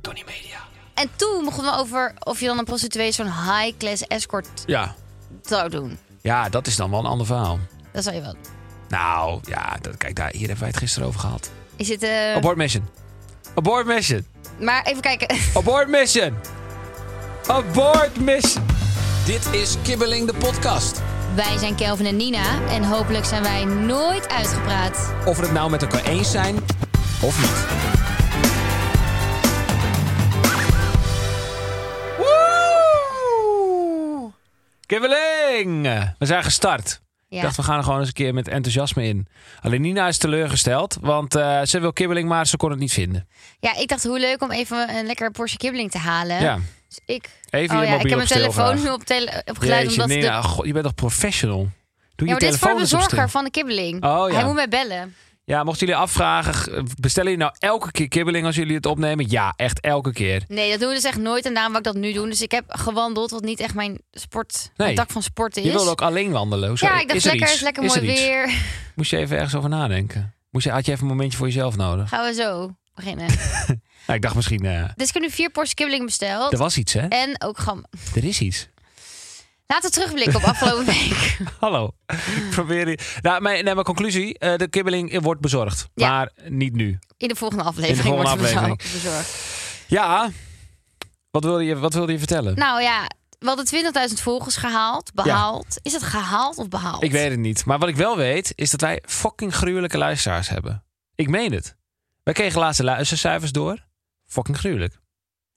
Tony Media. En toen begonnen we over of je dan een prostituee zo'n high-class escort Ja. zou doen. ja, dat is dan wel een ander verhaal. Dat zou je wel. Nou, ja, dat, kijk, daar, hier hebben wij het gisteren over gehad. Is het... eh, Abort mission. Abort mission. maar even kijken. Abort mission. Abort mission. Dit is Kibbeling de podcast. Wij zijn Kelvin en Nina en hopelijk zijn wij nooit uitgepraat. Of we het nou met elkaar eens zijn of niet. Woe! Kibbeling! We zijn gestart. Ja. Ik dacht, we gaan er gewoon eens een keer met enthousiasme in. Alleen Nina is teleurgesteld, want eh, ze wil kibbeling, maar ze kon het niet vinden. ja, ik dacht hoe leuk om even een lekker Porsche kibbeling te halen. Ja. Dus ik... Even oh je ja, mobiel ik heb mijn op stil telefoon graag. nu op, tele, op geluid. Jeetje, omdat Nina, de, goh, je bent toch professional? Doe ja, maar je dit is voor de telefoon eens op bezorger stil. van de kibbeling. Oh, ja. Hij moet mij bellen. Ja, mochten jullie afvragen, g- bestellen jullie nou elke keer kibbeling als jullie het opnemen? Ja, echt elke keer. Nee, dat doen we dus echt nooit en daarom wil ik dat nu doen. Dus ik heb gewandeld, wat niet echt mijn sport, Nee. mijn dak van sporten is. Je wilde ook alleen wandelen. Hoezo? ja, ik dacht is er lekker, iets? is lekker Is mooi er iets? weer. Moest je even ergens over nadenken? Moest je, had je even een momentje voor jezelf nodig? Gaan we zo beginnen. Nou, ik dacht misschien, eh, dus ik heb nu vier Porsche kibbeling besteld. er was iets hè? En ook gam. Er is iets. Laten we terugblikken op afgelopen week. Hallo. Ik Probeer je... Nou, mijn, nee, mijn conclusie. eh, de kibbeling wordt bezorgd. Ja. Maar niet nu. In de volgende aflevering volgende wordt het aflevering. bezorgd- bezorgd. Ja. Wat wilde je, wat wilde je vertellen? Nou ja, we hadden 20.000 volgers gehaald, behaald. Is het gehaald of behaald? Ik weet het niet. Maar wat ik wel weet, is dat wij fucking gruwelijke luisteraars hebben. Ik meen het. Wij kregen laatste luistercijfers door. Fucking gruwelijk.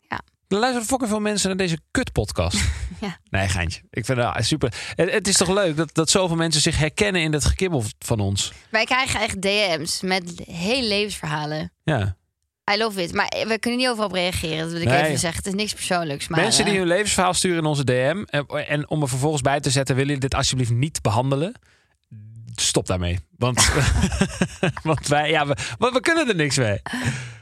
Ja. Er luisteren fucking veel mensen naar deze kutpodcast. Ja. Nee, geintje. Ik vind het wel super. Het, het is toch leuk dat, dat zoveel mensen zich herkennen in dat gekibbel van ons. Wij krijgen echt DM's met hele levensverhalen. Ja. I love it. Maar we kunnen niet overal op reageren, dat wil ik Nee. even zeggen. Het is niks persoonlijks. Maar, mensen die eh, hun levensverhaal sturen in onze DM. En, en om er vervolgens bij te zetten, willen jullie dit alsjeblieft niet behandelen? Stop daarmee. Want, want wij, ja, we, want we kunnen er niks mee.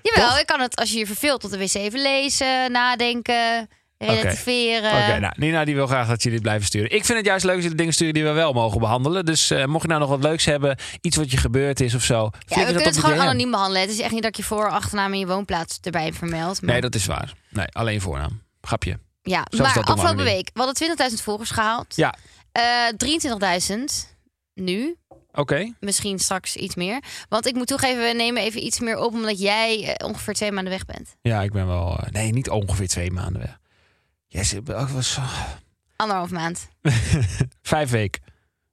Jawel, ik kan het als je je verveelt op de wc even lezen, nadenken, relativeren. Oké, nou, Nina die wil graag dat jullie dit blijven sturen. Ik vind het juist leuk als jullie dingen sturen die we wel mogen behandelen. Dus eh, mocht je nou nog wat leuks hebben, iets wat je gebeurd is of zo. ja, flikker we kunnen dat op het de gewoon DM. anoniem behandelen. Het is echt niet dat ik je voor- achternaam en je woonplaats erbij vermeld. Maar... Nee, dat is waar. Nee, alleen voornaam. Grapje. Ja, Zo is maar dat dan afgelopen anoniem. week, we hadden 20.000 volgers gehaald. Ja, Eh, 23.000 nu, oké. misschien straks iets meer. Want ik moet toegeven, we nemen even iets meer op... omdat jij eh, ongeveer twee maanden weg bent. Ja, ik ben wel... eh, nee, niet ongeveer twee maanden weg. Jij zit ook wel zo... Anderhalf maand. Vijf weken.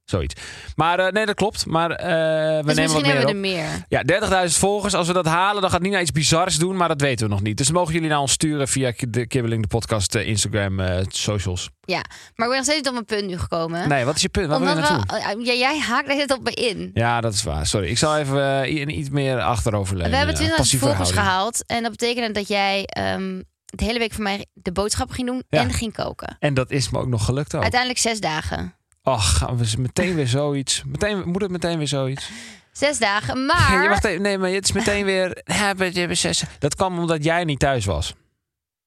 Zoiets. Maar eh, nee, dat klopt. Maar eh, we dus nemen wat misschien meer hebben we op. er meer. Ja, 30.000 volgers. Als we dat halen, dan gaat Nina iets bizars doen. Maar dat weten we nog niet. Dus mogen jullie naar ons sturen via de Kibbeling, de podcast, eh, Instagram, eh, socials. Ja, maar ik ben nog steeds niet op mijn punt nu gekomen. Nee, wat is je punt? Waar wil je omdat naartoe? we, eh, ja, jij haakt er op me in. Ja, dat is waar. Sorry, ik zal even eh, i- iets meer achterover leunen. We hebben Eh, 20.000 passieve volgers houding. gehaald. En dat betekende dat jij ehm, de hele week voor mij de boodschappen ging doen Ja. en ging koken. En dat is me ook nog gelukt ook. Uiteindelijk zes dagen. Ach, gaan we z- meteen weer zoiets. Meteen, moet het meteen weer zoiets? Zes dagen, maar... Je mag even- nee, maar het is meteen weer... Ja, we hebben zes- Dat kwam omdat jij niet thuis was.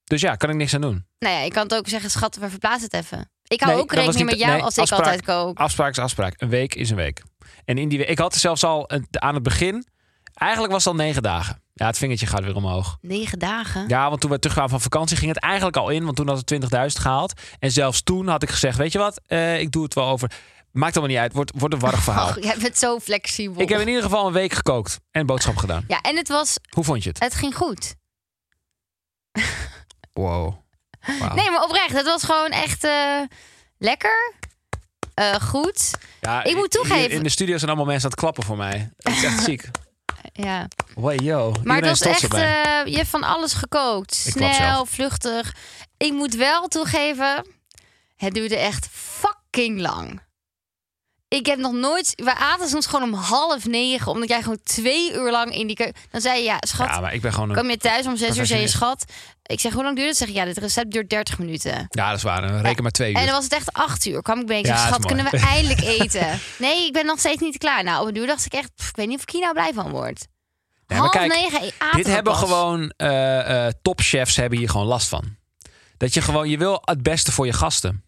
Dus ja, kan ik niks aan doen. Nou ja, ik kan het ook zeggen, schat, we verplaatsen het even. Ik hou Nee, ook dat was rekening niet- met jou nee, als ik afspraak. altijd kook. Afspraak is afspraak. Een week is een week. En in die week... Ik had zelfs al een- aan het begin... Eigenlijk was het al negen dagen. Ja, het vingertje gaat weer omhoog. Negen dagen? Ja, want toen we terugkwamen van vakantie ging het eigenlijk al in. Want toen had het 20.000 gehaald. En zelfs toen had ik gezegd, weet je wat, eh, ik doe het wel over. Maakt allemaal niet uit, wordt, wordt een warrig verhaal. Och, jij bent zo flexibel. ik heb in ieder geval een week gekookt en boodschap gedaan. Ja, en het, was, Hoe vond je het? het ging goed. Wow. Wauw. Nee, maar oprecht, het was gewoon echt eh, lekker, eh, goed. Ja, ik moet hier toegeven- In de studio zijn allemaal mensen aan het klappen voor mij. Dat is echt ziek. Ja. Wow, yo. Maar het Iedereen is was trots echt, erbij. eh, je hebt van alles gekookt. Ik klap Snel, vluchtig. Ik moet wel toegeven, het duurde echt fucking lang. Ik heb nog nooit... We aten soms gewoon om half negen. Omdat jij gewoon twee uur lang in die keuken... Dan zei je, ja, schat, Ja, maar ik ben gewoon een... kwam je thuis om zes uur, zei je, Perfectionist. schat... Ik zeg, hoe lang duurt het? Zeg ik, ja, dit recept duurt 30 minuten. Ja, dat is waar. Reken maar twee uur. En dan was het echt acht uur. Kwam ik binnen, ik Ja, zeg, dat is schat, kunnen we mooi. eindelijk eten? Nee, ik ben nog steeds niet klaar. Nou, op een duur dacht ik echt, pff, ik weet niet of ik hier nou blij van word. Nee, maar half kijk, negen eh, aten Dit we hebben pas. gewoon eh, eh, topchefs hebben hier gewoon last van. Dat je gewoon, je wil het beste voor je gasten.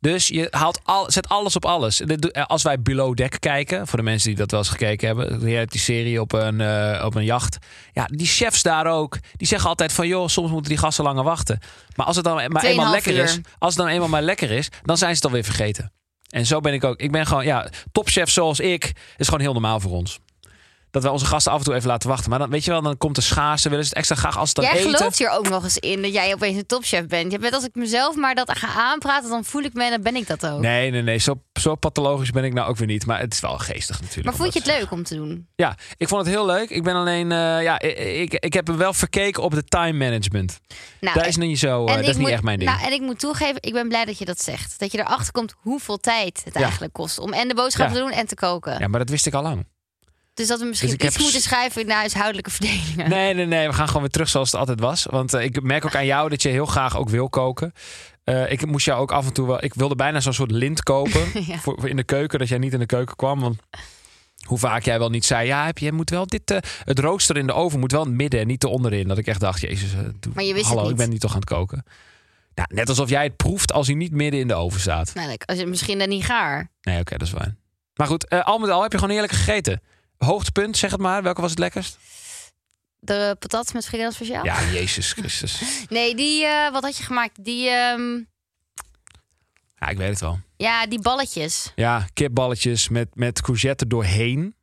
Dus je haalt al, zet alles op alles. Dit doe- eh, Als wij Below Deck kijken, voor de mensen die dat wel eens gekeken hebben, je hebt die serie op een, eh, op een jacht. Ja, die chefs daar ook, die zeggen altijd van joh, soms moeten die gasten langer wachten. Maar als het dan maar eenmaal Tweeënhalf lekker uur. is, als het dan eenmaal maar lekker is, dan zijn ze het alweer vergeten. En zo ben ik ook. Ik ben gewoon, ja, topchef zoals ik, is gewoon heel normaal voor ons. Dat we onze gasten af en toe even laten wachten. Maar dan weet je wel, dan komt de schaarste. Willen ze het extra graag als ze het dan jij eten. gelooft hier ook nog eens in dat jij opeens een topchef bent. Je bent als ik mezelf maar dat ga aanpraten, dan voel ik me en dan ben ik dat ook. Nee, nee, nee. Zo, zo pathologisch ben ik nou ook weer niet. Maar het is wel geestig natuurlijk. maar om vond je dat het leuk om te doen? te- Ja, ik vond het heel leuk. Ik ben alleen, eh, ja, ik, ik, ik heb hem wel verkeken op de time management. Nou, Daar is niet zo, eh, dat ik is niet moet- echt mijn ding. Nou, en ik moet toegeven, ik ben blij dat je dat zegt. Dat je erachter komt hoeveel tijd het Ja. eigenlijk kost om en de boodschappen Ja. te doen en te koken. ja, maar dat wist ik al lang. Dus dat we misschien Dus ik iets heb s- moeten schuiven naar huishoudelijke verdelingen. Nee, nee, nee. We gaan gewoon weer terug zoals het altijd was. Want eh, ik merk ook aan jou dat je heel graag ook wil koken. Eh, ik moest jou ook af en toe wel. Ik wilde bijna zo'n soort lint kopen Ja. voor, voor in de keuken, dat jij niet in de keuken kwam. Want hoe vaak jij wel niet zei: ja, heb je moet wel dit. eh, het rooster in de oven moet wel in het midden en niet te onderin. Dat ik echt dacht: Jezus, eh, doe- Maar je wist het hallo, ik niet. ben niet toch aan het koken. Nou, net alsof jij het proeft als hij niet midden in de oven staat. Nou, like, als je misschien dan niet gaar. Nee, oké, dat is fijn. Maar goed, eh, al met al heb je gewoon heerlijk gegeten. Hoogtepunt, zeg het maar. Welke was het lekkerst? De patat met frikandel speciaal? Ja, Jezus Christus. Nee, die, eh, wat had je gemaakt? Die, ehm, Ja, ik weet het wel. ja, die balletjes. Ja, kipballetjes met, met courgette doorheen.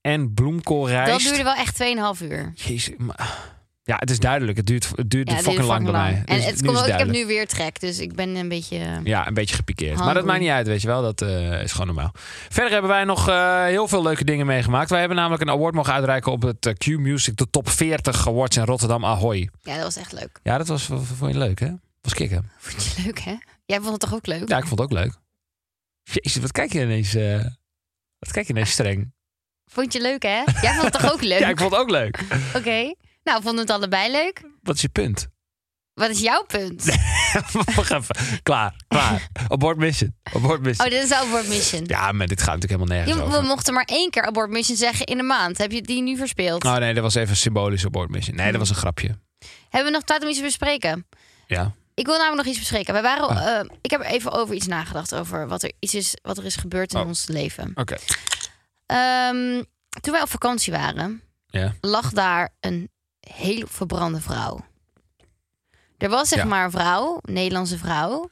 En Dat bloemkoolrijst. duurde wel echt 2,5 uur. Jezus, maar... Ja, het is duidelijk. Het duurt, het duurt Ja, het fucking duurde lang bij fucking En mij. Dus het nu komt is ook, ik heb duidelijk. nu weer trek, dus ik ben een beetje... Ja, een beetje gepikeerd. Maar dat Hungry. maakt niet uit, weet je wel. Dat eh, is gewoon normaal. Verder hebben wij nog eh, heel veel leuke dingen meegemaakt. Wij hebben namelijk een award mogen uitreiken op het eh, Q Music, de top 40 awards in Rotterdam. Ahoy. Ja, dat was echt leuk. Ja, dat was, v- v- vond je leuk, hè? Was kicken. Vond je leuk, hè? Jij vond het toch ook leuk? Ja, ik vond het ook leuk. Jezus, wat kijk je ineens... eh, wat kijk je ineens streng? Vond je leuk, hè? Jij vond het toch ook leuk? Ja, ik vond het ook leuk. Oké. Nou, vonden we het allebei leuk? Wat is je punt? Wat is jouw punt? Wacht even. Klaar, klaar. Abort mission. Abort Oh, mission. dit is de abort mission. Ja, maar dit gaat natuurlijk helemaal Je- nergens we over. mochten maar één keer abort mission zeggen in de maand. Heb je die nu verspeeld? Oh nee, dat was even een symbolische abort mission. Nee, Hmm. dat was een grapje. Hebben we nog tijd om iets te bespreken? Ja. Ik wil namelijk nog iets bespreken. We waren, eh, ik heb even over iets nagedacht over wat er, iets is, wat er is gebeurd in Oh. ons leven. Oké. Ehm, toen wij op vakantie waren, Ja. lag daar een heel verbrande vrouw. Er was zeg Ja. maar een vrouw, een Nederlandse vrouw.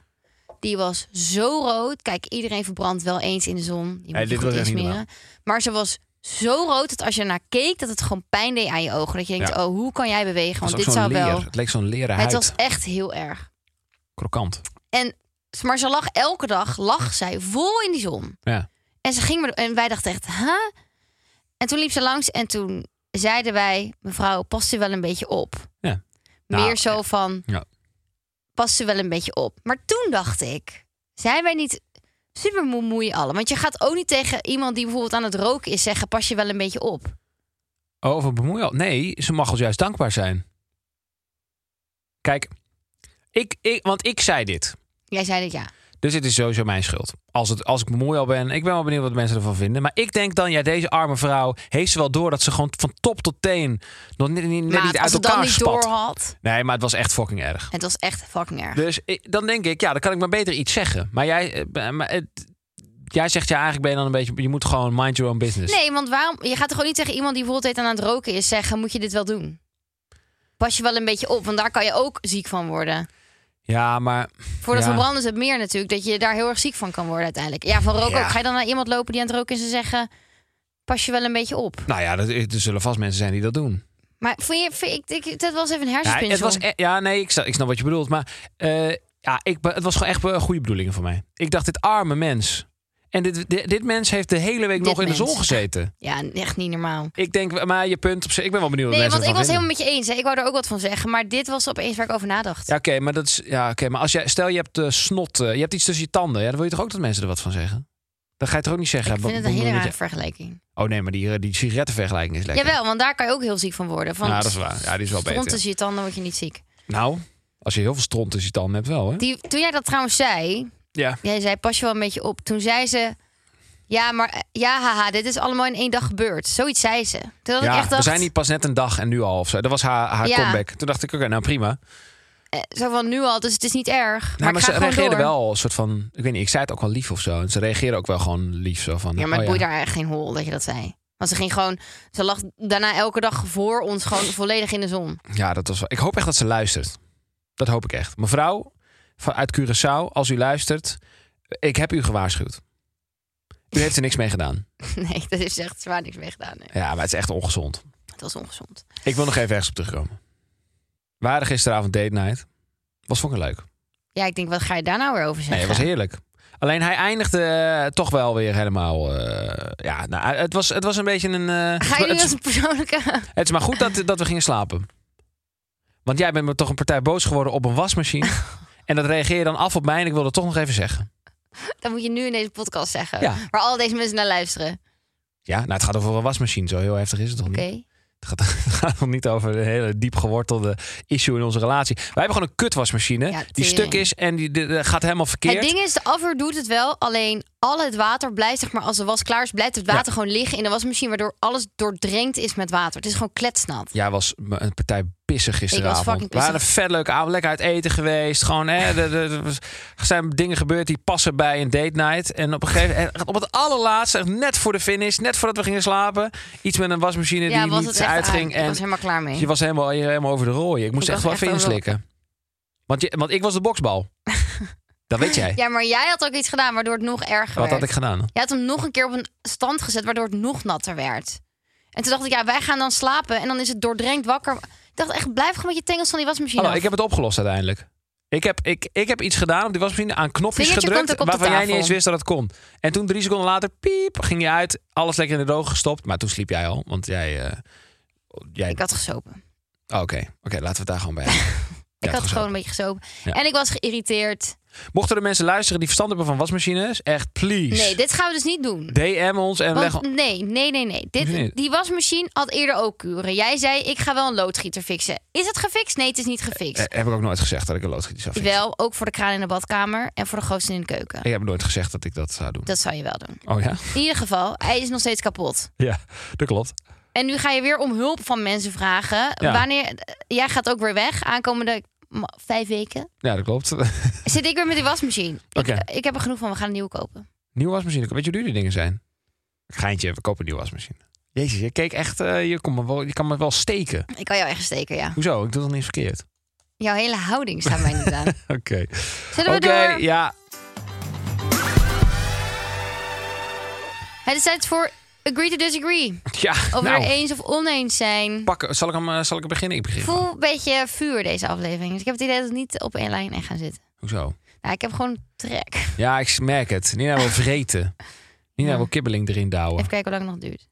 Die was zo rood. Kijk, iedereen verbrandt wel eens in de zon. Je moet Nee, je dit goed was echt niet insmeren. Maar ze was zo rood dat als je ernaar keek, dat het gewoon pijn deed aan je ogen. Dat je denkt, Ja. oh, hoe kan jij bewegen? Het was Want ook dit zo'n zou leer. wel... Het leek zo'n leren Het huid. was echt heel erg. Krokant. En, maar ze lag elke dag, lag zij vol in die zon. Ja. En, ze ging maar, en wij dachten echt, huh? En toen liep ze langs en toen zeiden wij... mevrouw, past u wel een beetje op? Ja. Meer Nou, zo van, ja. past u wel een beetje op? Maar toen dacht ik, zijn wij niet super moe allen? Want je gaat ook niet tegen iemand die bijvoorbeeld aan het roken is... zeggen, pas je wel een beetje op? Oh, van bemoeial. Nee, ze mag ons juist dankbaar zijn. Kijk, ik, ik, want ik zei dit. Jij zei dat ja. Dus het is sowieso mijn schuld. Als, het, als ik mooi al ben, ik ben wel benieuwd wat mensen ervan vinden. Maar ik denk dan, ja, deze arme vrouw heeft ze wel door dat ze gewoon van top tot teen nog niet, niet, Maar niet als uit ze dan elkaar niet spat. door had... Nee, maar het was echt fucking erg. Het was echt fucking erg. Dus ik- dan denk ik, ja, dan kan ik maar beter iets zeggen. Maar jij, eh, b- maar het- jij zegt ja, eigenlijk ben je dan een beetje, je moet gewoon mind your own business. Nee, want waarom? Je gaat toch gewoon niet tegen iemand die bijvoorbeeld heet aan het roken is zeggen: moet je dit wel doen? Pas je wel een beetje op, want daar kan je ook ziek van worden. Ja, maar Voor dat Ja. verbranden is het meer natuurlijk dat je daar heel erg ziek van kan worden uiteindelijk. Ja, van roken Ja. ook. Ga je dan naar iemand lopen die aan het roken is en zeggen: pas je wel een beetje op? nou ja, dat, er zullen vast mensen zijn die dat doen. Maar vond je, vind ik, ik- dat was even een Ja, hersenspinsel. het was, e- ja nee, ik snap, ik snap wat je bedoelt. Maar eh, ja, ik, be- het was gewoon echt eh, goede bedoelingen van mij. Ik dacht, dit arme mens. En dit, dit, dit mens heeft de hele week Dit nog in mens. de zon gezeten. ja, echt niet normaal. Ik denk, maar je punt op zich. Ik ben wel benieuwd wat Nee, mensen want ik was ervan helemaal vinden. met je eens. Hè. Ik wou er ook wat van zeggen, maar dit was opeens waar ik over nadacht. Ja, oké, maar dat is. Ja, oké, maar als jij, stel je hebt eh, snot, eh, je hebt iets tussen je tanden, ja, dan wil je toch ook dat mensen er wat van zeggen? Dat ga je toch ook niet zeggen? Ik vind Bo- het een hele bo- dat rare je- vergelijking. Oh nee, maar die, die sigarettenvergelijking is lekker. Jawel, want daar kan je ook heel ziek van worden. Van Ja, dat is waar. Ja, die is wel stront beter. tussen je tanden word je niet ziek. Nou, als je heel veel stront tussen je tanden hebt wel, hè? Die, toen jij dat trouwens zei, Ja. jij zei pas je wel een beetje op. Toen zei ze, ja, maar eh, ja, haha, dit is allemaal in één dag gebeurd. Zoiets zei ze. Toen had ik Ja, echt we dacht, zijn niet pas net een dag en nu al of zo. Dat was haar, haar Ja. comeback. Toen dacht ik, oké, nou prima. Nou, eh, zo van nu al, dus het is niet erg. maar maar, ik ga ze gewoon reageerde door. wel een soort van... Ik weet niet, ik zei het ook wel lief of zo. En ze reageerde ook wel gewoon lief zo van... Ja, maar het oh, boeit daar echt geen hol dat je dat zei. Want ze ging gewoon, ze lag daarna elke dag voor ons gewoon volledig in de zon. Ja, dat was wel. Ik hoop echt dat ze luistert. Dat hoop ik echt. Mevrouw van- uit Curaçao, als u luistert, ik heb u gewaarschuwd. U heeft er niks mee gedaan. Nee, dat is echt zwaar niks mee gedaan. nee. Ja, maar het is echt ongezond. Het was ongezond. Ik wil nog even ergens op terugkomen. We hadden gisteravond date night. Was fucking leuk. Ja, ik denk, wat ga je daar nou weer over Nee, het zeggen? was heerlijk. Alleen hij eindigde eh, toch wel weer helemaal. eh, ja, nou, het was, het was een beetje een. eh, Ga je nu het, als een persoonlijke... het is maar goed dat, dat we gingen slapen. Want jij bent me toch een partij boos geworden op een wasmachine. en dat reageer je dan af op mij en ik wil dat toch nog even zeggen. Dat moet je nu in deze podcast zeggen. Ja. Waar al deze mensen naar luisteren. Oké. Ja, nou, het gaat over een wasmachine. Zo heel heftig is het toch niet? Het gaat, het gaat nog niet over een hele diep gewortelde issue in onze relatie. Wij hebben gewoon een kutwasmachine Ja, die tering. stuk is en die, die- die gaat helemaal Het verkeerd. ding is, de afvoer doet het wel. Alleen al het water blijft, zeg maar, als de was klaar is, blijft het water gewoon liggen in de wasmachine. Waardoor alles doordrenkt is met water. Het is gewoon kletsnat. Jij was m- een partij pissig gisteravond. fucking We pissig. hadden een vet leuke avond, lekker uit eten geweest. Gewoon, hè, er- er- er was- er zijn dingen gebeurd die passen bij een date night. En op een gegeven moment, op het allerlaatste, echt net voor de finish, net voordat we gingen slapen, iets met een wasmachine ja, die was niet het echt uitging. aan. Ik en was helemaal klaar mee. Je was helemaal, je helemaal over de rooien. Ik moest Ik echt wel was even echt over de- inslikken. Want, je, want ik was de boksbal. dat weet jij. Ja, maar jij had ook iets gedaan waardoor het nog erger Wat werd. had ik gedaan? Je had hem nog een keer op een stand gezet, waardoor het nog natter werd. En toen dacht ik, ja, wij gaan dan slapen. En dan is het doordrenkt wakker. Ik dacht echt, blijf gewoon met je tengels van die wasmachine Hallo, af. ik heb het opgelost uiteindelijk. Ik heb, ik, ik heb iets gedaan op die wasmachine aan knopjes Vingertje komt gedrukt ook op de waarvan jij niet tafel. eens wist dat het kon. En toen drie seconden later, piep, ging je uit. Alles lekker in de droog gestopt. Maar toen sliep jij al, want jij... eh, jij... Ik had gesopen. Oh, Oké, oké, laten we het daar gewoon bij. houden. Ja, ik had gezellig. gewoon een beetje gesopen. Ja. En ik was geïrriteerd. Mochten er mensen luisteren die verstand hebben van wasmachines, echt please. Nee, dit gaan we dus niet doen. DM ons en leg... Want, nee, nee, nee, nee. Hoezo niet? Dit, die wasmachine had eerder ook kuren. Jij zei, ik ga wel een loodgieter fixen. Is het gefixt? Nee, het is niet Eh, gefixt. heb ik ook nooit gezegd dat ik een loodgieter zou fixen. Wel, ook voor de kraan in de badkamer en voor de gootsen in de keuken. Ik heb nooit gezegd dat ik dat zou doen. Dat zou je wel doen. Oh ja? In ieder geval, hij is nog steeds kapot. Ja, dat klopt. En nu ga je weer om hulp van mensen vragen. Ja. Wanneer, eh, jij gaat ook weer weg, aankomende ma- vijf weken. Ja, dat klopt. Zit ik weer met die wasmachine. Oké. Ik, ik heb er genoeg van, we gaan een nieuwe kopen. nieuwe wasmachine. Weet je hoe duur die dingen zijn? Geintje, we kopen een nieuwe wasmachine. Jezus, je keek echt... eh, je, kon me wel, je kan me wel steken. Ik kan jou echt steken, ja. Hoezo? Ik doe dat niet verkeerd. Jouw hele houding staat mij niet aan. Oké. Zullen Oké, we door? ja. Het is tijd voor agree to disagree. Ja, Of we nou. er eens of oneens zijn. Pakken. Zal ik hem eh, zal ik er beginnen? Ik begin. Ik voel een beetje vuur deze aflevering. Dus ik heb het idee dat het niet op één lijn echt gaan zitten. Hoezo? Nou, ik heb gewoon trek. Ja, ik merk het. Nina wil vreten. Nina wil kibbeling erin douwen. Even kijken hoe lang het nog duurt.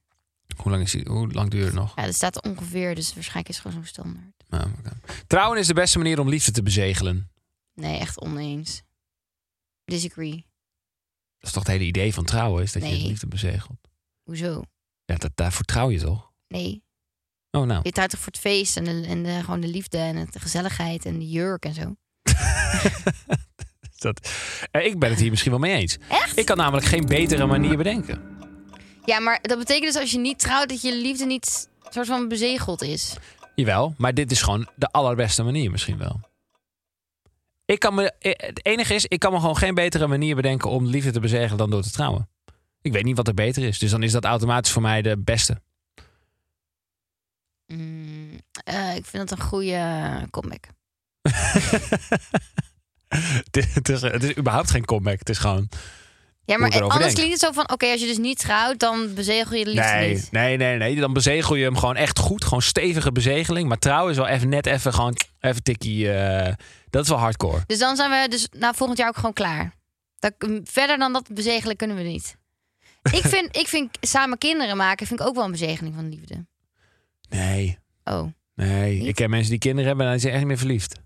Hoe lang, is die, hoe lang duurt het nog? Ja, dat staat ongeveer, dus waarschijnlijk is het gewoon zo'n standaard. Nou, oké. Trouwen is de beste manier om liefde te bezegelen. Nee, echt oneens. Disagree. Dat is toch het hele idee van trouwen? Is dat je Nee. je liefde bezegelt? Hoezo? Ja, dat, daarvoor trouw je toch? Nee. Oh, nou. Je trouwt toch voor het feest en, de, en de, gewoon de liefde en het- de gezelligheid en de jurk en zo. Is Dat, Eh, ik ben het hier misschien wel mee eens. Echt? Ik kan namelijk geen betere manier bedenken. Ja, maar dat betekent dus als je niet trouwt dat je liefde niet soort van bezegeld is. Jawel, maar dit is gewoon de allerbeste manier misschien wel. Ik kan me, eh, het enige is, ik kan me gewoon geen betere manier bedenken om liefde te bezegelen dan door te trouwen. Ik weet niet wat er beter is, dus dan is dat automatisch voor mij de beste. Mm, eh, ik vind dat een goede comeback. het, is- het is, het is überhaupt geen comeback, het is gewoon... Ja, Hoe maar ik erover anders denk. klinkt het zo van... oké, als je dus niet trouwt, dan bezegel je de liefde Nee, niet. nee, nee, nee, dan bezegel je hem gewoon echt goed, gewoon stevige bezegeling. Maar trouwen is wel even net even gewoon, even tikkie, eh, dat is wel hardcore. Dus dan zijn we dus na volgend jaar ook gewoon klaar. Dat, verder dan dat bezegelen kunnen we niet. Ik vind, ik vind samen kinderen maken vind ik ook wel een bezegeling van liefde. Nee, Oh, Nee, Niet? ik ken mensen die kinderen hebben en die zijn echt niet meer verliefd.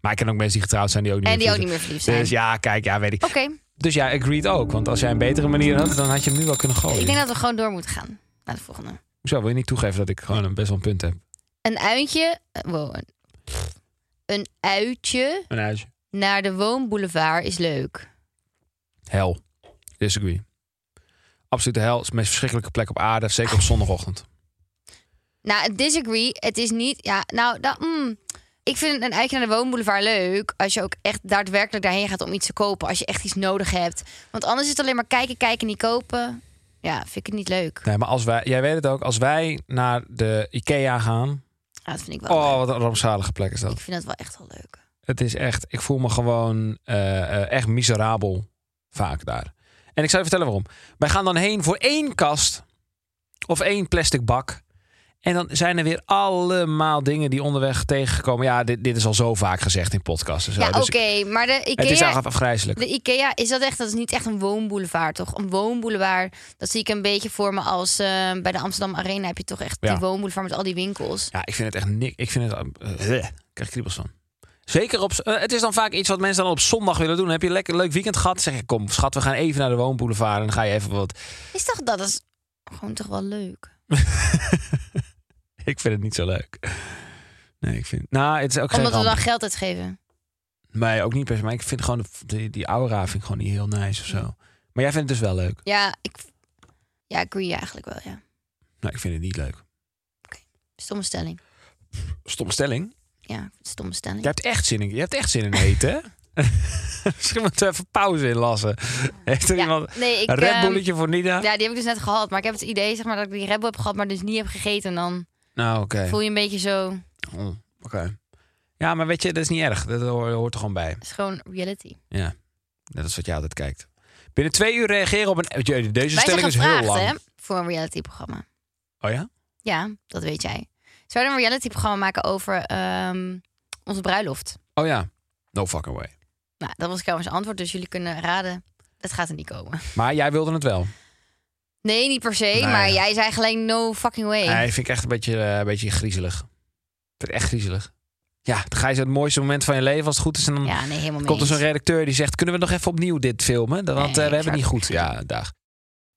Maar ik ken ook mensen die getrouwd zijn die ook niet en meer die ook niet verliefd meer verliefd zijn. zijn. Dus ja, kijk, ja, weet ik. Oké, Dus jij agreed ook. Want als jij een betere manier had, dan had je hem nu wel kunnen gooien. Ik denk dat we gewoon door moeten gaan naar de volgende. Hoezo wil je niet toegeven dat ik gewoon een best wel een punt heb? Een uitje. eh, Wow. een- Een uitje Een uitje. naar de woonboulevard is leuk. Hel. Disagree. Absolute hel. is de meest verschrikkelijke plek op aarde. Zeker op zondagochtend. Nou, disagree. Het is niet. Ja, nou, dat, mm. ik vind een uitje naar de woonboulevard leuk. Als je ook echt daadwerkelijk daarheen gaat om iets te kopen. Als je echt iets nodig hebt. Want anders is het alleen maar kijken, kijken, niet kopen. Ja, vind ik het niet leuk. Nee, maar als wij, jij weet het ook, als wij naar de IKEA gaan. Ja, dat vind ik wel. Oh, leuk. wat een rampzalige plek is dat. Ik vind dat wel echt wel leuk. Het is echt, ik voel me gewoon eh, eh, echt miserabel vaak daar. En ik zal je vertellen waarom. Wij gaan dan heen voor één kast of één plastic bak. En dan zijn er weer allemaal dingen die onderweg tegengekomen. Ja, dit, dit is al zo vaak gezegd in podcasts. en zo. Ja, oké, Dus maar de Het is IKEA, eigenlijk afgrijzelijk. de IKEA is dat echt? Dat is niet echt een woonboulevard, toch? Een woonboulevard, dat zie ik een beetje voor me als eh, bij de Amsterdam Arena heb je toch echt Ja. die woonboulevard met al die winkels. Ja, ik vind het echt niks. Ik vind het. eh, eh, ik krijg kriebels van. Zeker op. z- eh, het is dan vaak iets wat mensen dan op zondag willen doen. Dan heb je een lekker leuk weekend gehad? Dan Zeg je, kom, schat, we gaan even naar de woonboulevard. En dan ga je even wat. Is toch dat is gewoon toch wel leuk? Ik vind het niet zo leuk. Nee, ik vind. Nou, het is ook geen Omdat we ramp. dan geld uitgeven. Nee, ook niet per se. Maar ik vind gewoon de- die, die aura vind ik gewoon niet heel nice of zo. Maar jij vindt het dus wel leuk. Ja, ik ja, ik agree eigenlijk wel, ja. Nou, ik vind het niet leuk. Stomme stelling. Stomme stelling. Ja, stomme stelling. Je hebt echt zin in, je hebt echt zin in eten, hè? Misschien moeten we even pauze inlassen. Heeft er Ja, iemand nee, ik, een Red ehm, Bulletje voor Nida? ja, die heb ik dus net gehad, maar ik heb het idee zeg maar dat ik die Red Bull heb gehad, maar dus niet heb gegeten en dan Nou, oké. voel je een beetje zo, Oh, oké. Ja, maar weet je, dat is niet erg. Dat hoor- hoort er gewoon bij. het is gewoon reality. Ja, dat is wat jij altijd kijkt. Binnen twee uur reageren op een... Jee, Deze Wij zijn stelling is heel gevraagd, lang. hè, voor een realityprogramma. Oh ja? Ja, dat weet jij. Zouden we een realityprogramma maken over ehm, onze bruiloft? Oh ja. No fucking way. Nou, dat was Kelvin's antwoord, dus jullie kunnen raden. Het gaat er niet komen. Maar jij wilde het wel. Nee, niet per se, Nee. maar jij zei gelijk no fucking way. Hij vind ik echt een beetje, eh, een beetje griezelig. Ik vind het echt griezelig. Ja, dan ga je zo het mooiste moment van je leven als het goed is. En dan Ja, nee, helemaal komt niet. er zo'n redacteur die zegt... kunnen we nog even opnieuw dit filmen? Dan- Want Nee, eh, we ik hebben het niet zou goed. het Ja, dag.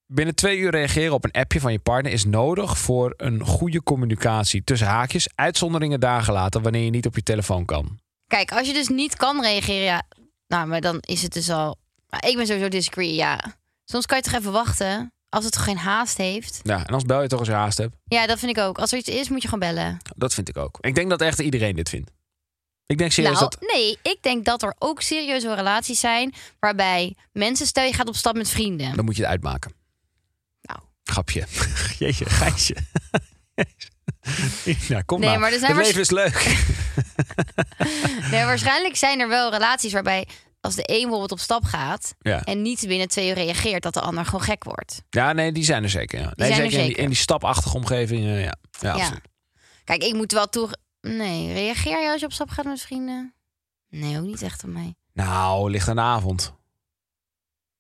Binnen twee uur reageren op een appje van je partner is nodig voor een goede communicatie. Tussen haakjes, uitzonderingen dagen later wanneer je niet op je telefoon kan. Kijk, als je dus niet kan reageren, ja, nou, maar dan is het dus al... Maar ik ben sowieso disagree, ja. Soms kan je toch even wachten, als het toch geen haast heeft. Ja, en als bel je toch als je haast hebt. Ja, dat vind ik ook. Als er iets is, moet je gewoon bellen. Dat vind ik ook. Ik denk dat echt iedereen dit vindt. Ik denk serieus nou, dat... nee, ik denk dat er ook serieuze relaties zijn waarbij mensen, stel je gaat op stap met vrienden. Dan moet je het uitmaken. Nou. Grapje. Jeetje, geitje. ja, kom Nee, nou. maar er zijn het waarsch- leven is leuk. Nee, waarschijnlijk zijn er wel relaties waarbij als de een bijvoorbeeld op stap gaat Ja. en niet binnen twee uur reageert, dat de ander gewoon gek wordt. ja, nee, die zijn er zeker. Ja. Nee, zijn er zeker. In, die, zeker. in die stapachtige omgeving, eh, ja. Ja, absoluut. Kijk, ik moet wel toe. Nee, reageer je als je op stap gaat met vrienden? Nee, ook niet echt op mij. Nou, ligt aan de avond.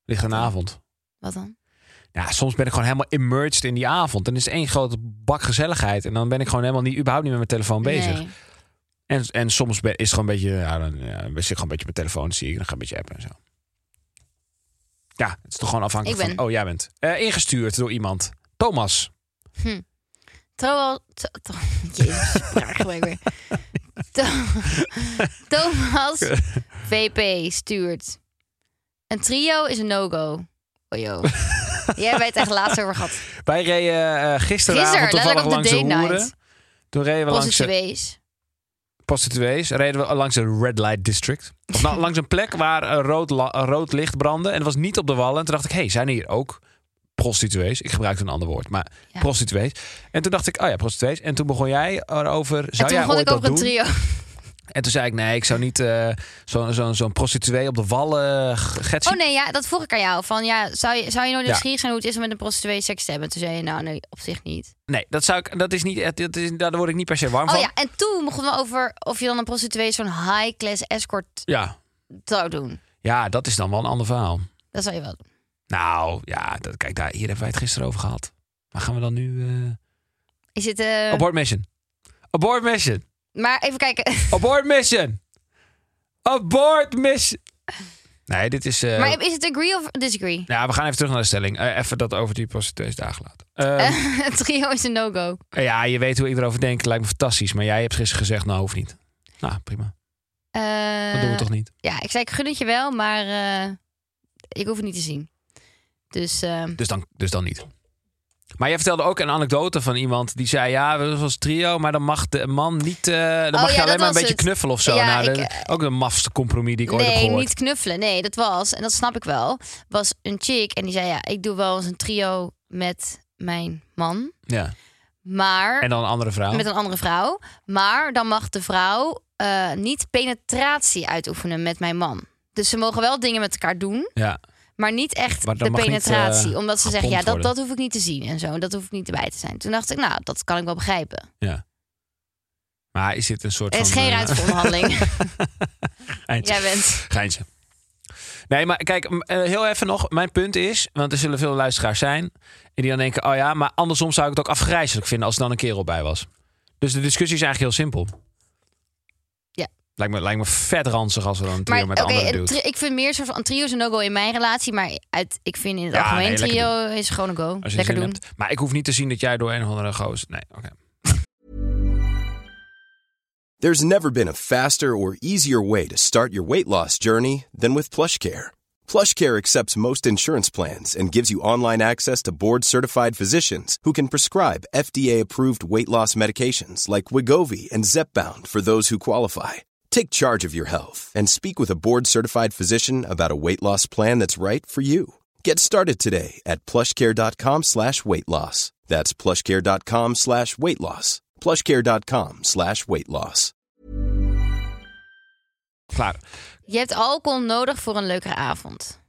Ligt aan de avond. Wat dan? Ja, soms ben ik gewoon helemaal immersed in die avond. En is het één grote bak gezelligheid. En dan ben ik gewoon helemaal niet, überhaupt niet met mijn telefoon bezig. Nee. En, en soms ben- is het gewoon een beetje, ja, dan, ja, dan zit ik gewoon een beetje op mijn telefoon, zie ik, dan ga ik een beetje appen en zo. Ja, het is toch gewoon afhankelijk Ik ben. van, oh jij bent Eh, ingestuurd door iemand. Thomas. Thomas. Tho- Tho- Jezus, spraakgebruik weer. Tho- Thomas VP stuurt. Een trio is een no-go. Ojo. Jij bent het echt laatst over gehad. Wij reden eh, gisteravond Gisteren, toevallig letterlijk op langs de de date hoeren. night. Toen reden we langs de Prostituees. prostituees, reden we langs de Red Light District. Of nou, langs een plek waar eh, rood, la- eh, rood licht brandde. En het was niet op de wallen. En toen dacht ik, hé, hey, zijn hier ook prostituees? Ik gebruikte een ander woord, maar Ja. prostituees. En toen dacht ik, oh ja, prostituees. En toen begon jij erover, zou En toen jij begon ooit ik dat over een doen? trio. En toen zei ik, nee, ik zou niet eh, zo'n zo'n zo'n prostituee op de wallen eh, getsen. Oh nee, ja, dat vroeg ik aan jou. Van, ja, zou, je, zou je nooit Ja. nieuwsgierig zijn hoe het is om met een prostituee seks te hebben? Toen zei je, nou nee, op zich niet. Nee, dat zou ik, dat is niet, echt- dat is, daar word ik niet per se warm Oh van. ja, en toen begonnen we over of je dan een prostituee zo'n high-class escort ja. zou doen. Ja, dat is dan wel een ander verhaal. Dat zou je wel doen. Nou, ja, dat, kijk, daar, hier hebben wij het gisteren over gehad. Maar gaan we dan nu... eh Is het... eh, Abort mission. Abort mission. Eh. maar even kijken. Abort mission. Abort mission. Nee, dit is... eh, maar is het agree of disagree? nou, we gaan even terug naar de stelling. Eh, even dat over die prostituees dagen laten. Ehm, Eh, trio is een no-go. Ja, je weet hoe ik erover denk. Lijkt me fantastisch. Maar jij hebt gisteren gezegd, nou hoeft niet. Nou, prima. Eh, Dat doen we toch niet? Ja, ik zei ik gun het je wel, maar eh, ik hoef het niet te zien. Dus eh, Dus dan, dus dan niet. Maar jij vertelde ook een anekdote van iemand die zei... ja, we zijn als trio, maar dan mag de man niet... eh, dan Oh mag je ja, dat alleen maar een was beetje het. knuffelen of zo. Ja, nou, ik, eh, dat- ook de mafste compromis die ik ooit heb nee, gehoord. niet knuffelen. Nee, dat was, en dat snap ik wel, was een chick. En die zei, ja, ik doe wel eens een trio met mijn man. Ja. Maar En dan een andere vrouw. met een andere vrouw. Maar dan mag de vrouw eh, niet penetratie uitoefenen met mijn man. Dus ze mogen wel dingen met elkaar doen, Ja. maar niet echt Maar dan de mag niet, penetratie. eh, omdat ze zeggen, gepompt ja, dat, worden. dat hoef ik niet te zien en zo. Dat hoef ik niet erbij te zijn. Toen dacht ik, nou, dat kan ik wel begrijpen. ja. Maar is dit een soort Er is van... geen eh, ruimte voor onderhandeling. geintje. Jij bent. Geintje. Nee, maar kijk, m- eh, heel even nog. Mijn punt is, want er zullen veel luisteraars zijn... en die dan denken, oh ja, maar andersom zou ik het ook afgrijzelijk vinden... als er dan een kerel bij was. Dus de discussie is eigenlijk heel simpel. Ja. Lijkt me, lijkt me vet ranzig als we dan een trio Maar met een oké, andere een dude. tri- ik vind meer soort van een trio is een no-go in mijn relatie. Maar uit, ik vind in het Ja, algemeen nee, lekker trio is gewoon een go. Als je lekker zin doen. hebt. Maar ik hoef niet te zien dat jij door een of andere goos... Nee, oké. There's never been a faster or easier way to start your weight loss journey than with PlushCare. PlushCare accepts most insurance plans and gives you online access to board-certified physicians who can prescribe FDA-approved weight loss medications like Wigovi and Zepbound for those who qualify. Take charge of your health and speak with a board-certified physician about a weight loss plan that's right for you. Get started today at plushcare.com slash weight loss. That's plushcare.com slash weight loss. Plushcare.com slash weight loss. Klaar. Je hebt alcohol nodig voor een leukere avond.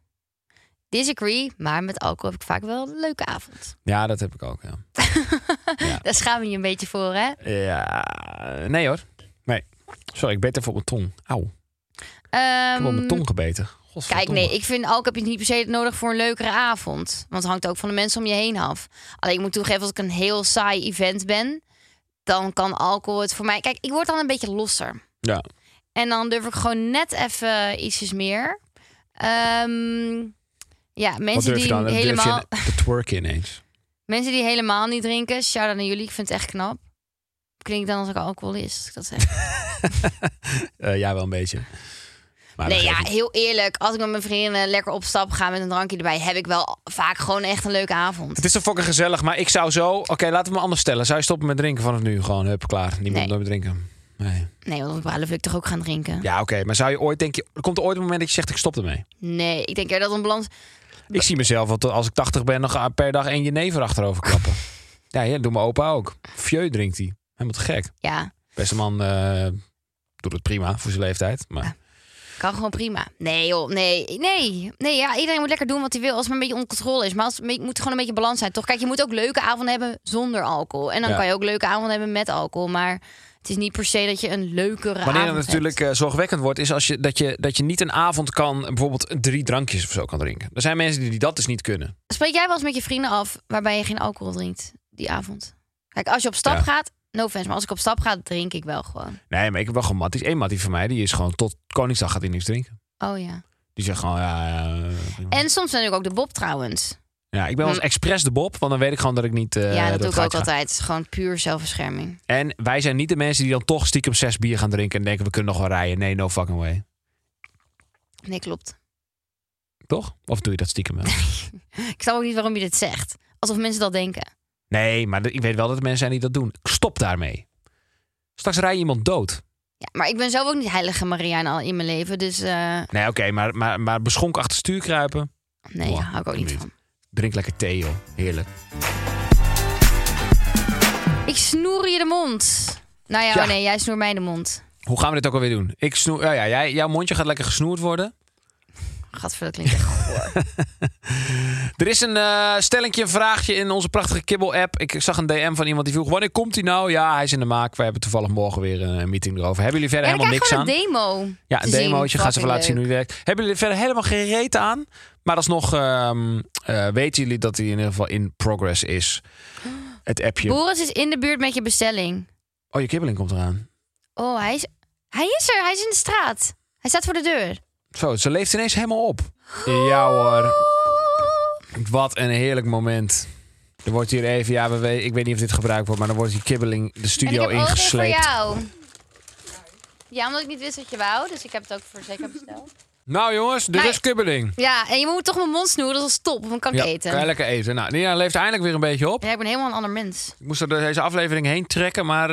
Disagree, maar met alcohol heb ik vaak wel een leuke avond. Ja, dat heb ik ook, ja. Daar schaam je je een beetje voor, hè? Ja, nee hoor. Nee. Sorry, ik beet even op mijn tong. Auw, ik heb op Ehm, mijn tong gebeten. Kijk, Godverdomme. nee, ik vind alcohol heb je niet per se nodig voor een leukere avond. Want het hangt ook van de mensen om je heen af. Alleen ik moet toegeven, als ik een heel saai event ben... dan kan alcohol het voor mij... Kijk, ik word dan een beetje losser. Ja. En dan durf ik gewoon net even ietsjes meer. Ehm, ja, Wat mensen durf je die dan? Dan helemaal... Durf je te twerken ineens. Mensen die helemaal niet drinken, shout-out naar jullie. Ik vind het echt knap. Klinkt dan als ik alcoholist, als ik dat Ah, zeg. Eh, ja, wel een beetje. Maar nee, dat ja, geeft niet. heel eerlijk. Als ik met mijn vrienden lekker op stap ga met een drankje erbij... heb ik wel vaak gewoon echt een leuke avond. Het is toch fucking gezellig, maar ik zou zo... Oké, laten we me anders stellen. Zou je stoppen met drinken vanaf nu? Gewoon, hup, klaar. Niemand Nee. meer drinken. Nee. Nee, want op 12 wil ik toch ook gaan drinken? Ja, oké. maar zou je ooit denk je, komt er ooit een moment dat je zegt, ik stop ermee? Nee, ik denk eerder dat een balans... Ik zie mezelf, wel tot- als ik 80 ben, nog per dag één jenever achterover klappen. ja, ja, doet mijn opa ook. Fieu drinkt hij. Helemaal te gek. Ja, Beste man eh, doet het prima voor zijn leeftijd. Maar kan gewoon prima. Nee joh, nee. Nee, nee ja, iedereen moet lekker doen wat hij wil als het maar een beetje onder controle is. Maar als, het moet gewoon een beetje balans zijn, toch? Kijk, je moet ook leuke avonden hebben zonder alcohol. En dan Ja. kan je ook leuke avonden hebben met alcohol. Maar het is niet per se dat je een leukere Wanneer het avond natuurlijk hebt. eh, zorgwekkend wordt, is als je, dat, je, dat je niet een avond kan, bijvoorbeeld drie drankjes of zo kan drinken. Er zijn mensen die, die dat dus niet kunnen. Spreek jij wel eens met je vrienden af waarbij je geen alcohol drinkt die avond? Kijk, als je op stap Ja. gaat, no offense, maar als ik op stap ga, drink ik wel gewoon. Nee, maar ik heb wel gewoon matties. Eén mattie van mij, die is gewoon tot Koningsdag gaat hij niks drinken. Oh ja. Die zegt gewoon, ja, ja, prima. En soms ben ik ook de Bob trouwens. ja ik ben wel eens expres de Bob, want dan weet ik gewoon dat ik niet... eh, ja, dat door doe het ik ook gaatje ga. altijd. Het is gewoon puur zelfbescherming. En wij zijn niet de mensen die dan toch stiekem zes bier gaan drinken en denken, we kunnen nog wel rijden. Nee, no fucking way. Nee, klopt. Toch? Of doe je dat stiekem wel? Ik snap ook niet waarom je dit zegt. Alsof mensen dat denken. nee, maar ik weet wel dat er mensen zijn die dat doen. Stop daarmee. Straks rij je iemand dood. Ja, maar ik ben zelf ook niet heilige Mariana al in mijn leven. Dus eh, Nee, oké, maar, maar, maar beschonk achter het stuur kruipen. nee, Wow, hou ik ook niet niet. van. Drink lekker thee, joh. Heerlijk. Ik snoer je de mond. Nou ja, Ja. oh nee, jij snoert mij de mond. Hoe gaan we dit ook alweer doen? Ik snoer, ja, ja, jij, jouw mondje gaat lekker gesnoerd worden. Gadver, dat klinkt echt goor. Er is een eh stellingje, een vraagje in onze prachtige Kibbel-app. Ik zag een DM van iemand die vroeg, wanneer komt hij nou? Ja, hij is in de maak. We hebben toevallig morgen weer een eh, meeting erover. Hebben jullie Ja, verder dan helemaal krijg je niks aan? gewoon een demo. ja, te een zien. demootje. Gaan ze Fucking even laten zien hoe leuk. die werkt. Hebben jullie er verder helemaal geen reet aan? Maar alsnog ehm eh weten jullie dat hij in ieder geval in progress is. Het appje. Boris is in de buurt met je bestelling. Oh, je kibbeling komt eraan. Oh, hij is, hij is er. Hij is in de straat. Hij staat voor de deur. Zo, ze leeft ineens helemaal op. Ja hoor. Wat een heerlijk moment. Er wordt hier even, ja, we we- ik weet niet of dit gebruikt wordt, maar dan wordt die kibbeling de En ik studio heb ook weer voor ingesleept. jou. Ja, omdat ik niet wist wat je wou, dus ik heb het ook voor zeker besteld. Nou jongens, dit Nee. is kibbeling. Ja, en je moet toch mijn mond snoeren, dat is top, want dan kan ik eten. kan je lekker eten. Nou, Nina leeft eindelijk weer een beetje op. Ja, ik ben helemaal een ander mens. Ik moest er door deze aflevering heen trekken, maar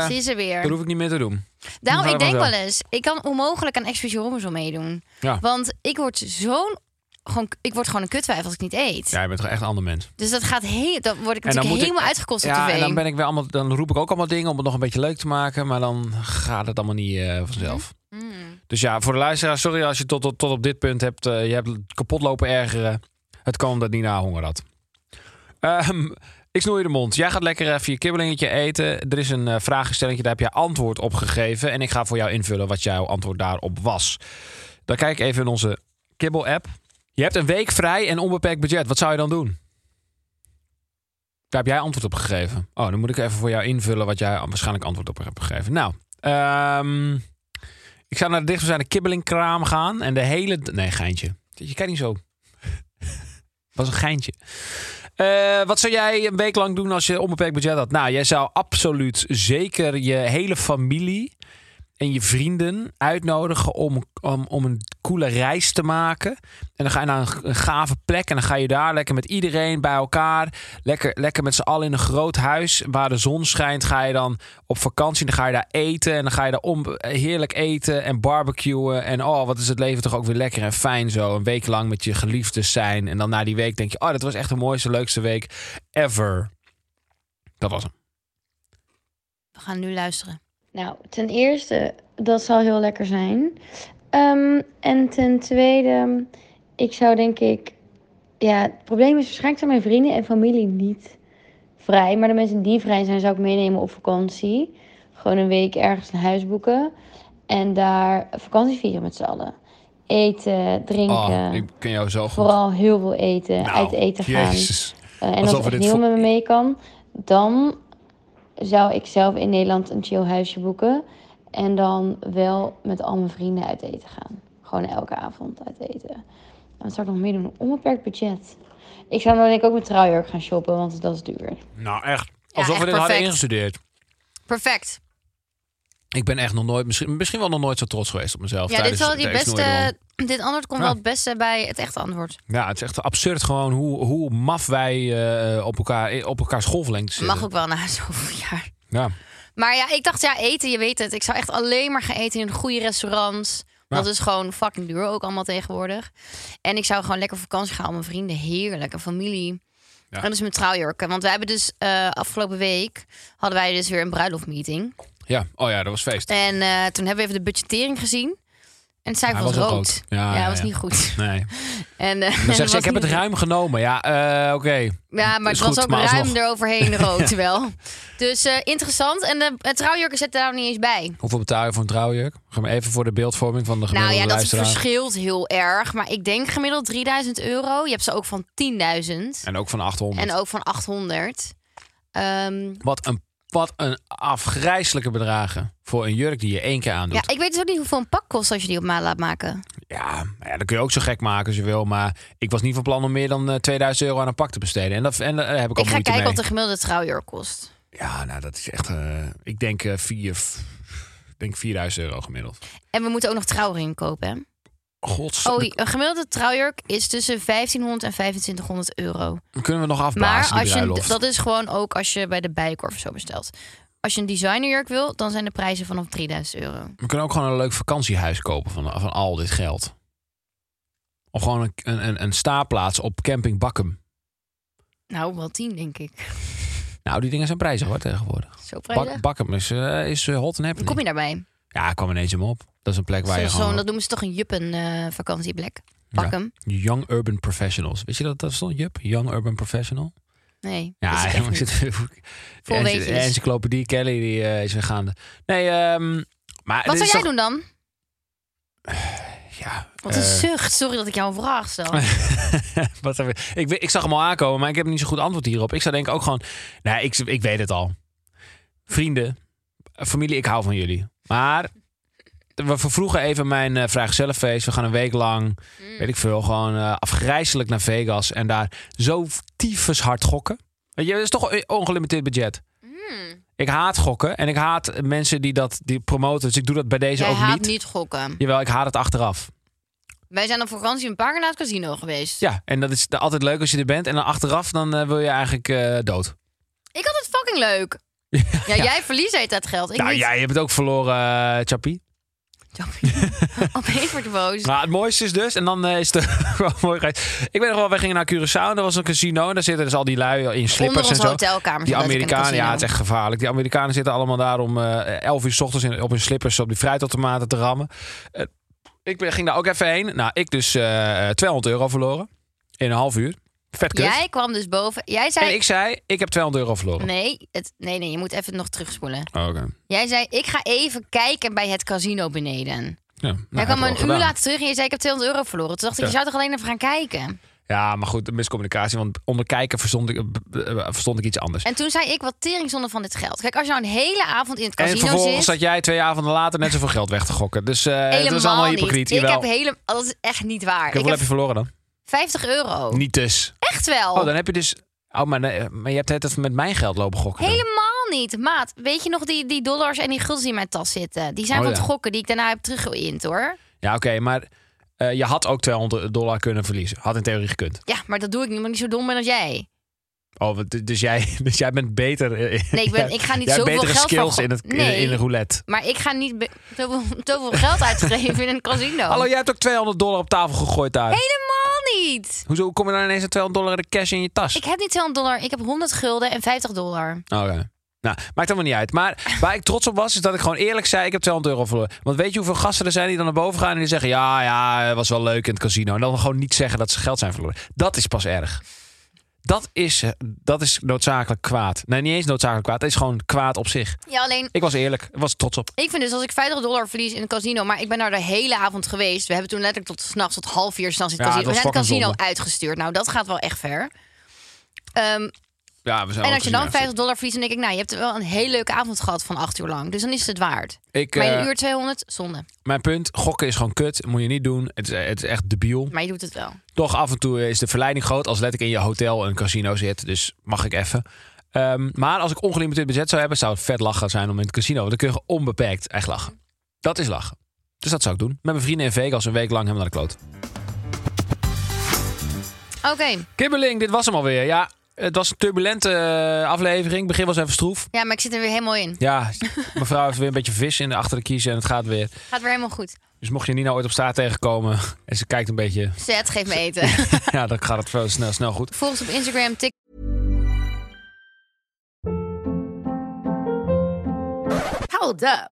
eh Zie je ze dat weer. hoef ik niet meer te doen. Daarom, Ga ik er denk vanzelf. wel eens, ik kan onmogelijk aan Expeditie Robinson meedoen. Ja. Want ik word zo'n... Gewoon, ik word gewoon een kutwijf als ik niet eet. Ja, je bent toch echt een ander mens. Dus dat gaat heel, dan word ik natuurlijk moet ik- helemaal uitgekost op ja, tv. en dan, ben ik weer allemaal, dan roep ik ook allemaal dingen om het nog een beetje leuk te maken. Maar dan gaat het allemaal niet eh, vanzelf. Mm. Dus ja, voor de luisteraar, sorry als je tot, tot, tot op dit punt hebt. eh, je hebt kapot lopen ergeren. Het kwam omdat Nina honger had. Ehm, ik snoei je de mond. Jij gaat lekker even je kibbelingetje eten. Er is een eh, vraagstelletje, daar heb jij antwoord op gegeven. En ik ga voor jou invullen wat jouw antwoord daarop was. Dan kijk ik even in onze kibbel-app. Je hebt een week vrij en onbeperkt budget. Wat zou je dan doen? Daar heb jij antwoord op gegeven. Oh, dan moet ik even voor jou invullen wat jij waarschijnlijk antwoord op hebt gegeven. Nou, ehm, ik zou naar de dichtstbijzijnde kibbelingkraam gaan en de hele... Nee, geintje. Je kijkt niet zo. was een geintje. Eh, wat zou jij een week lang doen als je onbeperkt budget had? Nou, jij zou absoluut zeker je hele familie en je vrienden uitnodigen om, om, om een coole reis te maken. En dan ga je naar een, een gave plek en dan ga je daar lekker met iedereen bij elkaar. Lekker, lekker met z'n allen in een groot huis waar de zon schijnt. Ga je dan op vakantie en dan ga je daar eten. En dan ga je daar om, heerlijk eten en barbecuen. En oh, wat is het leven toch ook weer lekker en fijn zo. Een week lang met je geliefdes zijn. En dan na die week denk je, oh, dat was echt de mooiste, leukste week ever. Dat was hem. We gaan nu luisteren. Nou, ten eerste, dat zal heel lekker zijn. Ehm, en ten tweede, ik zou denk ik. Ja, het probleem is waarschijnlijk zijn mijn vrienden en familie niet vrij. Maar de mensen die vrij zijn, zou ik meenemen op vakantie. Gewoon een week ergens een huis boeken. En daar vakantie vieren met z'n allen. Eten, drinken. Oh, ik ken jou zo goed. Vooral heel veel eten. Nou, uit eten gaan. Jezus. Eh, en Alsof als we het echt dit niet voor- met me mee kan, dan zou ik zelf in Nederland een chill huisje boeken. En dan wel met al mijn vrienden uit eten gaan. Gewoon elke avond uit eten. En wat zou ik nog meer doen? Onbeperkt budget. Ik zou dan denk ik ook met trouwjurk gaan shoppen, want dat is duur. Nou, echt. Alsof echt we dit hadden perfect. ingestudeerd. Perfect. Ik ben echt nog nooit, misschien, misschien wel nog nooit zo trots geweest op mezelf. Ja, dit, tijdens- zal die tijdens Snoeiderom. beste, dit antwoord komt Ja. wel het beste bij het echte antwoord. Ja, het is echt absurd gewoon hoe, hoe maf wij eh, op, elkaar, op elkaar golflengte zitten. Mag ook wel na zoveel jaar. Ja. Maar ja, ik dacht, ja, eten, je weet het. Ik zou echt alleen maar gaan eten in goede restaurants. Dat Ja. is gewoon fucking duur ook allemaal tegenwoordig. En ik zou gewoon lekker op vakantie gaan met mijn vrienden. Heerlijk, een familie. Ja. En dus mijn trouwjurken. Want we hebben dus eh, afgelopen week... hadden wij dus weer een bruiloftmeeting. ja, oh ja, dat was feest. En eh, toen hebben we even de budgettering gezien. En het Hij suiker was, was rood. ook rood. Ja, ja, was ja. niet goed. Nee. En, eh, Dan dat zegt ze, was ik heb het niet- ruim genomen. Ja, eh, oké. Ja, maar Is het was goed, ook maar ruim alsnog. eroverheen rood wel. Dus eh, interessant. En de de trouwjurken zitten daar nog niet eens bij. Hoeveel betaal je voor een trouwjurk? Gaan we even voor de beeldvorming van de Nou gemiddelde ja, dat luisteraar. verschilt heel erg. Maar ik denk gemiddeld 3000 euro. Je hebt ze ook van 10.000. En ook van 800. En ook van 800. Ehm, Wat, een, wat een afgrijzelijke bedragen voor een jurk die je één keer ja, aandoet. ik weet dus ook niet hoeveel een pak kost als je die op maat laat maken. Ja, maar ja, dat kun je ook zo gek maken als je wil. Maar ik was niet van plan om meer dan eh, 2000 euro aan een pak te besteden. En, dat, en daar heb ik al ik ga moeite kijken mee. wat de gemiddelde trouwjurk kost. Ja, nou dat is echt. eh, ik denk, eh vier, f- ik denk 4000 euro gemiddeld. En we moeten ook nog trouwring kopen. hè? Gods. Oh, een gemiddelde trouwjurk is tussen 1500 en 2500 euro. dan kunnen we nog Maar afblazen. die als je, bruiloft. dat is gewoon ook als je bij de Bijenkorf zo bestelt. Als je een designerjurk wil, dan zijn de prijzen vanaf 3000 euro. We kunnen ook gewoon een leuk vakantiehuis kopen van, van al dit geld. Of gewoon een, een, een- een staarplaats op Camping Bakkum. Nou, wel 10 denk ik. Nou, die dingen zijn prijzig hoor tegenwoordig. Zo prijzig. Bak, Bakkum is, eh, is eh, hot en Dan happy. kom je daarbij. Ja, ik kwam ineens hem op. Dat is een plek waar Zo, je zo'n- gewoon... dat noemen ze toch een juppen eh, vakantieplek. Pak Ja. hem. Young Urban Professionals. Weet je dat dat stond, Jup? Young Urban Professional? Nee. Ja, wist ik echt helemaal niet. zit Vol En- weetjes. Encyclopedie Kelly die, eh, is weer gaande. Nee, ehm maar Wat dit zou is jij toch- doen dan? Ja, Wat een eh, zucht. Sorry dat ik jou een vraag stel. wat heb ik- ik, weet- ik zag hem al aankomen, maar ik heb niet zo goed antwoord hierop. Ik zou denken ook gewoon, nou, ik, ik weet het al. Vrienden, familie, ik hou van jullie. Maar we vervroegen even mijn eh vraag zelffeest. We gaan een week lang, Mm. weet ik veel, gewoon eh, afgrijzelijk naar Vegas. En daar zo tyfus hard gokken. Weet je, dat is toch ongelimiteerd budget. Mm. Ik haat gokken en ik haat mensen die dat die promoten. Dus ik doe dat bij deze Jij ook haat niet. niet gokken. Jawel, ik haat het achteraf. Wij zijn op vakantie een paar keer naar het casino geweest. Ja, en dat is altijd leuk als je er bent. En dan achteraf, dan eh, wil je eigenlijk eh, dood. Ik had het fucking leuk. Ja, jij verliest de hele tijd geld. Ik nou, niet. jij hebt het ook verloren, eh Chappie. Opeens word ik boos. Nou, het mooiste is dus, en dan eh, is het gewoon mooi geweest. Ik weet nog wel, wij gingen naar Curaçao en er was een casino. En daar zitten dus al die lui in Onder slippers en onze zo. hotelkamer. Die zat ik in Amerikanen, ja, casino. het is echt gevaarlijk. Die Amerikanen zitten allemaal daar om eh 11 uur s ochtends in, op hun slippers op die fruitautomaten te rammen. Eh, ik ben- ging daar ook even heen. Nou, ik dus eh 200 euro verloren in een half uur. Vet kut. Jij kwam dus boven. Jij En zei... ik zei, ik heb 200 euro verloren. Nee, het, nee, nee, je moet even nog terugspoelen. Oké. Jij zei, ik ga even kijken bij het casino beneden. Ja, nou, jij heb kwam ik me wel een uur gedaan. later terug en je zei, ik heb 200 euro verloren. Toen dacht ik, Ja. je zou toch alleen even gaan kijken? Ja, maar goed, de miscommunicatie. Want onder kijken verstond ik, eh, b- eh, verstond ik iets anders. En toen zei ik, wat teringzonde van dit geld. Kijk, als je nou een hele avond in het En casino vervolgens zit... zat jij twee avonden later net zoveel geld weg te gokken. Dus eh, het was helemaal allemaal hypocriet. niet. Ik Jawel. heb hele, dat is echt niet waar. Hoeveel Ik heb heb je verloren dan? 50 euro. Niet dus. Echt wel. Oh, dan heb je dus... Oh, maar, nee, maar je hebt het met mijn geld lopen gokken. dan. Helemaal niet. Maat, weet je nog die, die dollars en die guldens die in mijn tas zitten? Die zijn Oh, van ja. het gokken die ik daarna heb teruggeïnd, hoor. Ja, oké, maar eh, je had ook 200 dollar kunnen verliezen. Had in theorie gekund. Ja, maar dat doe ik niet, omdat ik niet zo dom ben als jij. Oh, wat- dus jij, dus jij bent beter... eh, Nee, ik, ben, ik ga niet jij hebt zoveel betere geld skills van... in, het, in- nee, in, de roulette. maar ik ga niet be- zoveel, zoveel geld uitgeven in een casino. Hallo, jij hebt ook 200 dollar op tafel gegooid daar. Helemaal niet. Hoezo hoe kom je dan ineens aan 200 dollar in de cash in je tas? Ik heb niet 200 dollar, ik heb 100 gulden en 50 dollar. Oké. Nou, maakt allemaal niet uit. Maar waar ik trots op was, is dat ik gewoon eerlijk zei: ik heb 200 euro verloren. Want weet je hoeveel gasten er zijn die dan naar boven gaan en die zeggen: ja, ja, het was wel leuk in het casino. En dan gewoon niet zeggen dat ze geld zijn verloren. Dat is pas erg. Dat is, eh, dat is noodzakelijk kwaad. Nee, niet eens noodzakelijk kwaad. Het is gewoon kwaad op zich. Ja, alleen, Ik was eerlijk. Ik was er trots op. ik vind dus als ik 50 dollar verlies in een casino, maar ik ben daar de hele avond geweest. We hebben toen letterlijk tot 's nachts tot half uur s'nachts in het Ja, casino. dat We was zijn het fucking casino zonde. uitgestuurd. Nou, dat gaat wel echt ver. Ehm, Ja, we zijn en als je dan 50 dollar verliest, dan denk ik, nou, je hebt wel een hele leuke avond gehad van 8 uur lang. Dus dan is het het waard. Ik, Maar eh, een uur 200, zonde. Mijn punt: gokken is gewoon kut. Moet je niet doen. Het is, eh, het is echt debiel. Maar je doet het wel. Toch af en toe is de verleiding groot als let ik in je hotel een casino zit. Dus mag ik even. Ehm, maar als ik ongelimiteerd budget zou hebben, zou het vet lachen zijn om in het casino. Want dan kun je gewoon onbeperkt echt lachen. Dat is lachen. Dus dat zou ik doen. Met mijn vrienden in Vegas een week lang helemaal naar de kloot. Oké, Kibbeling, dit was hem alweer. Ja, het was een turbulente eh, aflevering. Begin was even stroef. ja, maar ik zit er weer helemaal in. Ja, mevrouw heeft weer een beetje vis in de achter de kiezen en het gaat weer. Gaat weer helemaal goed. Dus mocht je Nina ooit op straat tegenkomen en ze kijkt een beetje... Zet, geef me eten. Ja, dan gaat het wel snel, snel goed. Volg ons op Instagram, TikTok. Hold up.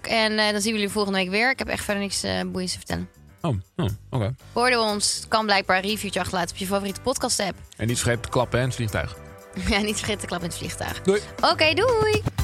En eh, dan zien we jullie volgende week weer. Ik heb echt verder niks eh boeiends te vertellen. Oh, oh oké. Hoorde ons. Kan blijkbaar een reviewtje achterlaten op je favoriete podcast app. En niet vergeten te klappen, hè, in het vliegtuig. ja, niet vergeten te klappen in het vliegtuig. Doei. Oké, doei!